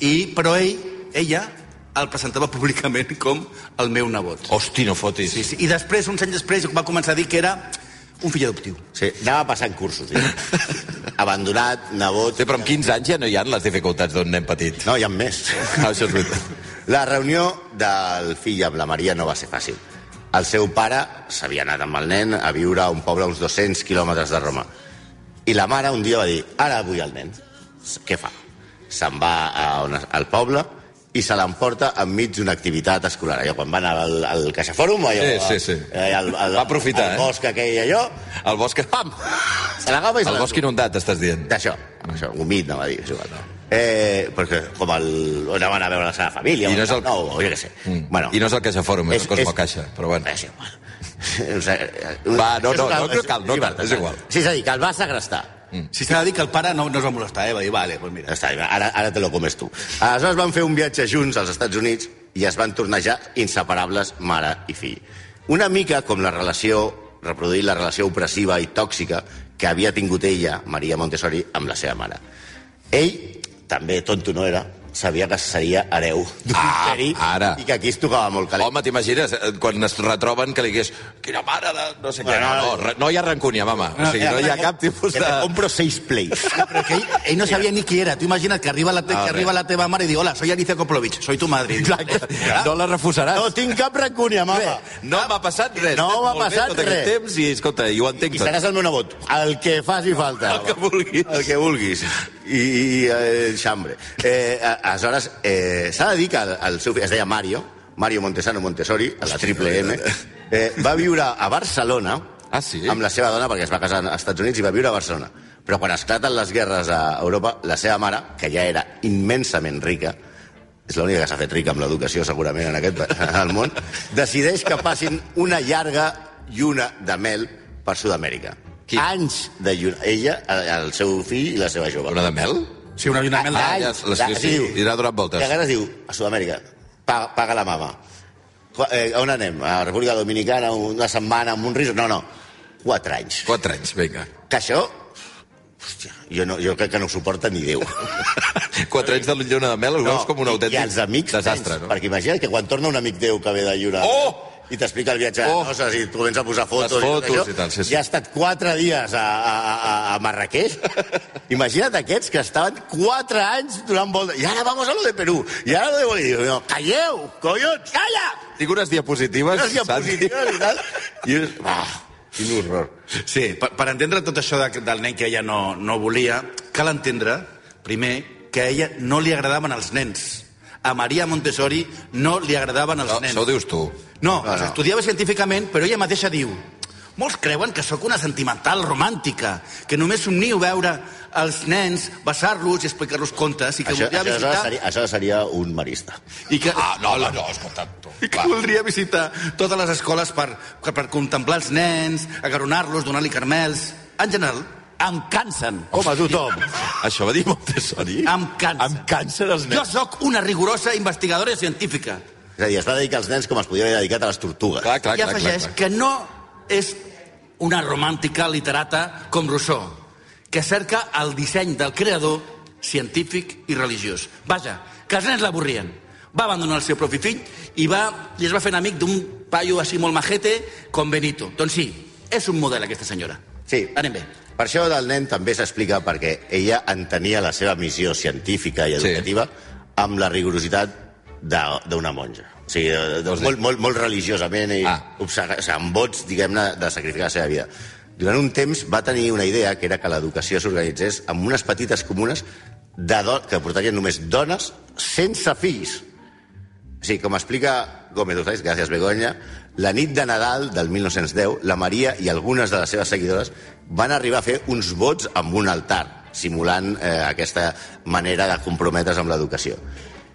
[SPEAKER 6] i, però ell, ella, el presentava públicament com el meu nebot.
[SPEAKER 4] Hosti, no fotis.
[SPEAKER 6] Sí, sí. I després, uns anys després, va començar a dir que era un fill adoptiu.
[SPEAKER 5] Sí, anava passant cursos. Ja. Abandonat, nebot...
[SPEAKER 4] Sí, però amb 15 anys ja no hi ha les dificultats d'un nen petit.
[SPEAKER 5] No, hi ha més.
[SPEAKER 4] Ah, això és veritat.
[SPEAKER 5] La reunió del fill amb la Maria no va ser fàcil. El seu pare s'havia anat amb el nen a viure a un poble a uns 200 quilòmetres de Roma. I la mare un dia va dir, ara vull el nen. Què fa? Se'n va a on, al poble i se l'emporta enmig d'una activitat escolar. Allò, quan van al, al Caixafòrum, allò...
[SPEAKER 4] Sí, sí, sí.
[SPEAKER 5] Eh, al, al,
[SPEAKER 4] Va aprofitar,
[SPEAKER 5] al
[SPEAKER 4] eh?
[SPEAKER 5] bosc aquell, allò,
[SPEAKER 4] El bosc... Pam!
[SPEAKER 5] se l'agafa i se
[SPEAKER 4] El bosc inundat, estàs dient.
[SPEAKER 5] D'això, això, humit, no va dir, és igual, no. Eh, perquè com el... on van a veure la seva família,
[SPEAKER 4] I no
[SPEAKER 5] o
[SPEAKER 4] és el-
[SPEAKER 5] no, o jo què sé.
[SPEAKER 4] Mm. I no és el Caixa Fòrum, és,
[SPEAKER 5] És-
[SPEAKER 4] el Cosmo
[SPEAKER 5] és-
[SPEAKER 4] Caixa, però bueno. eh,
[SPEAKER 5] És igual. O sigui,
[SPEAKER 4] Va, no,
[SPEAKER 5] és
[SPEAKER 4] no,
[SPEAKER 5] una-
[SPEAKER 4] no, no cal, no cal, és igual. Mm.
[SPEAKER 5] Sí, és a dir, que el va segrestar.
[SPEAKER 6] Si s'ha de dir que el pare no, no es va molestar, eh? va dir, vale, pues
[SPEAKER 5] Ja
[SPEAKER 6] mira.
[SPEAKER 5] Està, ara, ara te lo comes tu. Aleshores van fer un viatge junts als Estats Units i es van tornar ja inseparables mare i fill. Una mica com la relació, reproduir la relació opressiva i tòxica que havia tingut ella, Maria Montessori, amb la seva mare. Ell, també tonto no era, sabia que seria hereu d'un
[SPEAKER 4] Ah,
[SPEAKER 5] imperi
[SPEAKER 4] ara.
[SPEAKER 5] i que aquí es tocava molt calent.
[SPEAKER 4] Home, t'imagines, eh, quan es retroben que li digués quina mare de... no sé què. No, no,
[SPEAKER 5] eh.
[SPEAKER 4] re- no hi ha rancúnia, mama. O sigui, no hi ha cap tipus
[SPEAKER 5] Que
[SPEAKER 4] de...
[SPEAKER 5] te compro seis plays.
[SPEAKER 6] Però que ell, ell no sabia ni qui era. Tu imagina't que arriba la, te,
[SPEAKER 4] Ah,
[SPEAKER 6] que
[SPEAKER 4] res.
[SPEAKER 6] arriba la teva mare i diu, hola, soy Alicia Koplovich, soy tu madre.
[SPEAKER 4] No la refusaràs.
[SPEAKER 5] No tinc cap rancúnia, mama.
[SPEAKER 4] No m'ha passat res.
[SPEAKER 5] No
[SPEAKER 4] He estat
[SPEAKER 5] m'ha
[SPEAKER 4] molt bé
[SPEAKER 5] passat
[SPEAKER 4] tot aquest
[SPEAKER 5] res.
[SPEAKER 4] temps i, escolta, i ho entenc
[SPEAKER 5] I
[SPEAKER 4] tot.
[SPEAKER 5] seràs el meu nebot. El que faci falta.
[SPEAKER 4] El que vulguis.
[SPEAKER 5] El que vulguis. I, i eh, xambre. Eh, a- aleshores, eh, s'ha de dir que el, el seu fill es deia Mario, Mario Montesano Montessori, a la triple M, eh, va viure a Barcelona
[SPEAKER 4] Ah, sí?
[SPEAKER 5] amb la seva dona, perquè es va casar als Estats Units i va viure a Barcelona. Però quan esclaten les guerres a Europa, la seva mare, que ja era immensament rica, és l'única que s'ha fet rica amb l'educació, segurament, en aquest al món, decideix que passin una llarga lluna de mel per Sud-amèrica.
[SPEAKER 4] Qui?
[SPEAKER 5] Anys de lluna. Ella, el el seu fill i la seva jove.
[SPEAKER 4] Una de mel?
[SPEAKER 6] Sí, una lluna mel
[SPEAKER 4] Ah,
[SPEAKER 6] d'any.
[SPEAKER 4] ja, la- sí,
[SPEAKER 5] Anys.
[SPEAKER 4] sí,
[SPEAKER 5] Diu-
[SPEAKER 4] i l'ha donat voltes.
[SPEAKER 5] Que ara es diu, a Sud-amèrica, paga, paga la mama. Qua- Eh, on anem? A República Dominicana, una setmana, amb un risc? No, no. Quatre anys.
[SPEAKER 4] Quatre anys, vinga.
[SPEAKER 5] Que això... Hòstia, jo, no, jo crec que no ho suporta ni Déu.
[SPEAKER 4] Quatre anys de lluna de mel, ho veus com un
[SPEAKER 5] i-
[SPEAKER 4] autèntic
[SPEAKER 5] I els amics,
[SPEAKER 4] desastre,
[SPEAKER 5] tens,
[SPEAKER 4] no?
[SPEAKER 5] Perquè imagina't que quan torna un amic Déu que ve de lliure...
[SPEAKER 4] Oh!
[SPEAKER 5] I t'explica el viatge
[SPEAKER 4] Oh!
[SPEAKER 5] oh! no, i tu comença a posar fotos...
[SPEAKER 4] Les
[SPEAKER 5] tot
[SPEAKER 4] fotos
[SPEAKER 5] això.
[SPEAKER 4] i tal, sí, sí.
[SPEAKER 5] Ja ha estat quatre dies a, a, a, a Marrakeix. imagina't aquests que estaven quatre anys durant volta. I ara vamos a lo de Perú. I ara lo de Bolívia. I diu, Calleu, collons, calla!
[SPEAKER 4] Tinc unes diapositives,
[SPEAKER 5] Unes diapositives i tal. I és... Ah, quin horror.
[SPEAKER 6] Sí, per, per entendre tot això de, del nen que ella no, no volia, cal entendre, primer, que a ella no li agradaven els nens. A Maria Montessori no li agradaven els
[SPEAKER 4] No,
[SPEAKER 6] nens.
[SPEAKER 4] això ho Ah, dius tu.
[SPEAKER 6] No, no,
[SPEAKER 5] no.
[SPEAKER 6] no. estudiava científicament, però ella mateixa diu Molts creuen que sóc una sentimental romàntica, que només somnio veure els nens, besar-los i explicar-los contes i que
[SPEAKER 5] Això,
[SPEAKER 6] voldria
[SPEAKER 5] això,
[SPEAKER 6] visitar...
[SPEAKER 5] seria, això seria un marista.
[SPEAKER 6] I que,
[SPEAKER 4] Ah, no, no, no, escolta, tu.
[SPEAKER 6] i que
[SPEAKER 4] Va.
[SPEAKER 6] voldria visitar totes les escoles per, per, per contemplar els nens, agaronar-los, donar-li carmels... En general, em cansen.
[SPEAKER 5] Home, tothom.
[SPEAKER 4] Això va dir Montessori?
[SPEAKER 6] Em cansa.
[SPEAKER 4] Em cansen els
[SPEAKER 6] Jo
[SPEAKER 4] nens.
[SPEAKER 6] sóc una rigorosa investigadora científica.
[SPEAKER 5] És a dir, es va dedicar als nens com es podria haver dedicat a les tortugues.
[SPEAKER 4] Clar, clar,
[SPEAKER 6] I
[SPEAKER 4] clar, clar,
[SPEAKER 6] afegeix
[SPEAKER 4] clar.
[SPEAKER 6] que no és una romàntica literata com Rousseau, que cerca el disseny del creador científic i religiós. Vaja, que els nens l'avorrien. Va abandonar el seu propi fill i, va, i es va fer amic d'un paio així molt majete com Benito. Doncs sí, és un model aquesta senyora.
[SPEAKER 5] Sí.
[SPEAKER 6] Anem bé.
[SPEAKER 5] Per això del nen també s'explica perquè ella entenia la seva missió científica i
[SPEAKER 4] Sí.
[SPEAKER 5] educativa amb la rigorositat de- d'una monja. O sigui, de- de-
[SPEAKER 4] Vols dir?
[SPEAKER 5] molt, molt, molt religiosament i
[SPEAKER 4] Ah.
[SPEAKER 5] ah. obsega, o sigui, amb vots, diguem-ne, de sacrificar la seva vida. Durant un temps va tenir una idea que era que l'educació s'organitzés amb unes petites comunes de do... que portarien només dones sense fills. O sigui, com explica Gómez Uzais, gràcies Begoña, la nit de Nadal del 1910, la Maria i algunes de les seves seguidores van arribar a fer uns vots amb un altar, simulant eh, aquesta manera de comprometre's amb l'educació.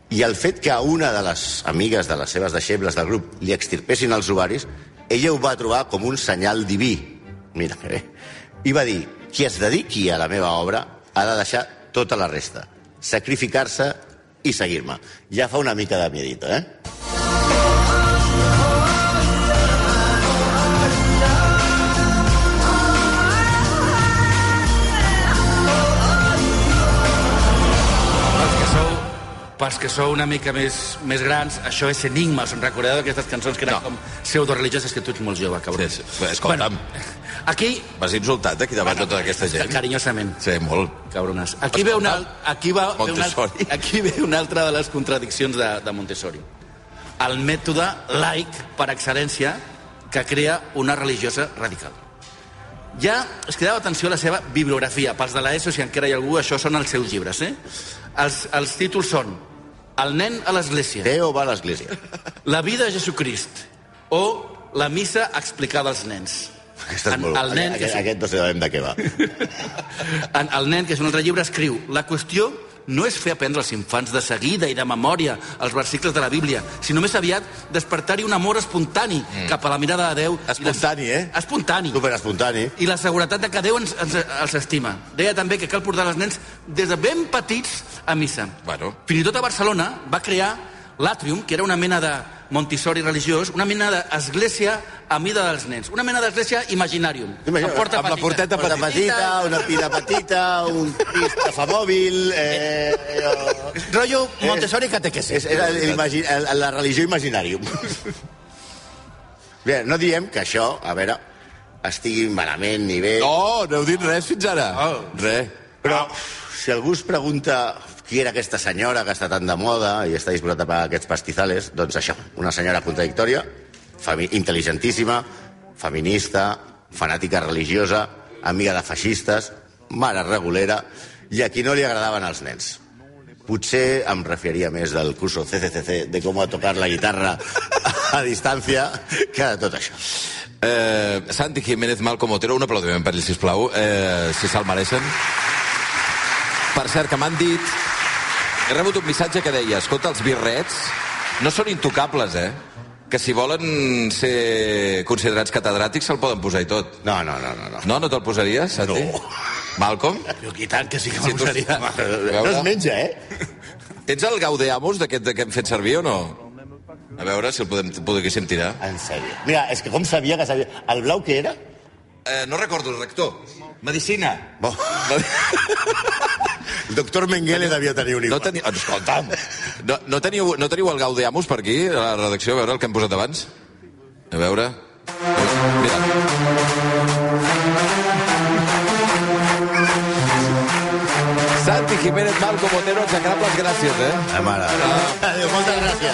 [SPEAKER 5] I el fet que a una de les amigues de les seves deixebles del grup li extirpessin els ovaris, ella ho va trobar com un senyal diví. Mira eh? que bé. I va dir, qui es dediqui a la meva obra ha de deixar tota la resta, sacrificar-se i seguir-me. Ja fa una mica de miedito, eh?
[SPEAKER 6] Pels que sou, pels que sou una mica més, més grans, això és enigma. Se'n recordeu d'aquestes cançons que eren
[SPEAKER 4] No.
[SPEAKER 6] com pseudoreligioses que tu ets molt jove, cabrón.
[SPEAKER 4] Sí, sí. Bé, escolta'm.
[SPEAKER 6] Bueno, aquí,
[SPEAKER 4] M'has insultat aquí davant de tota aquesta gent.
[SPEAKER 6] carinyosament.
[SPEAKER 4] Sí, molt.
[SPEAKER 6] cabrones. Aquí ve una, aquí va, ve una,
[SPEAKER 4] Montessori.
[SPEAKER 6] aquí ve una altra de les contradiccions de, de Montessori. El mètode laic per excel·lència que crea una religiosa radical. Ja es quedava atenció a la seva bibliografia. Pels de l'ESO, si encara hi ha algú, això són els seus llibres, eh? Els, els títols són El nen a l'església,
[SPEAKER 5] Déu va a l'església.
[SPEAKER 6] La vida de Jesucrist o La missa explicada als nens.
[SPEAKER 5] Aquest, és
[SPEAKER 6] En-
[SPEAKER 5] molt...
[SPEAKER 6] el nen que
[SPEAKER 5] aquest,
[SPEAKER 6] és-
[SPEAKER 5] aquest no sabem de què va.
[SPEAKER 6] En El nen, que és un altre llibre, escriu La qüestió no és fer aprendre als infants de seguida i de memòria els versicles de la Bíblia, sinó més aviat despertar-hi un amor espontani mm. cap a la mirada de Déu. i la-
[SPEAKER 4] Espontani, eh?
[SPEAKER 6] Espontani.
[SPEAKER 5] Super espontani.
[SPEAKER 6] I la seguretat de que Déu ens, ens, els estima. Deia també que cal portar els nens des de ben petits a missa.
[SPEAKER 4] Bueno.
[SPEAKER 6] Fins i tot a Barcelona va crear l'Atrium, que era una mena de Montessori religiós, una mena d'església a mida dels nens, una mena d'església imaginarium.
[SPEAKER 5] Imagina't,
[SPEAKER 4] amb la porteta
[SPEAKER 5] Porta petita, una pila petita, un pis tafamòbil... Eh, eh,
[SPEAKER 6] Rollo Montessori catequesis.
[SPEAKER 5] és, era l'imagi- el- la religió imaginàrium. Bé, no diem que això, a veure, estigui malament ni bé...
[SPEAKER 4] No, no heu dit res fins ara.
[SPEAKER 6] Oh.
[SPEAKER 4] Res.
[SPEAKER 5] Però si algú es pregunta qui era aquesta senyora que està tan de moda i està disposat a pagar aquests pastizales, doncs això, una senyora contradictòria, femi intel·ligentíssima, feminista, fanàtica religiosa, amiga de feixistes, mare regulera, i a qui no li agradaven els nens. Potser em referiria més del curso CCCC de com a tocar la guitarra a distància que de tot això.
[SPEAKER 4] Eh, Santi Jiménez Malcom Otero, un aplaudiment per ell, sisplau, eh, si se'l mereixen. Per cert, que m'han dit... He rebut un missatge que deia, escolta, els birrets no són intocables, eh? Que si volen ser considerats catedràtics se'l poden posar i tot.
[SPEAKER 5] No, no, no, no. no.
[SPEAKER 4] No, no te'l posaries, Santi?
[SPEAKER 5] No.
[SPEAKER 4] Malcolm?
[SPEAKER 6] Jo, i tant que sí que m'ho seria.
[SPEAKER 5] No es menja, eh?
[SPEAKER 4] Tens el Gaudeamus d'aquest que hem fet servir o no? A veure si el podem, podríem tirar.
[SPEAKER 5] En sèrio. Mira, és que com sabia que sabia... El blau que era?
[SPEAKER 4] Eh, no recordo el rector. Medicina.
[SPEAKER 5] Bo. El doctor Mengele devia tenir un
[SPEAKER 4] No
[SPEAKER 5] igual.
[SPEAKER 4] teniu... Ah, Escolta'm, no, no, teniu, no teniu el Gaudeamus per aquí, a la redacció, a veure el que hem posat abans? A veure... Mira. Santi Jiménez Malcom Otero ens acaba les gràcies, eh?
[SPEAKER 5] La mare. Adéu, moltes gràcies.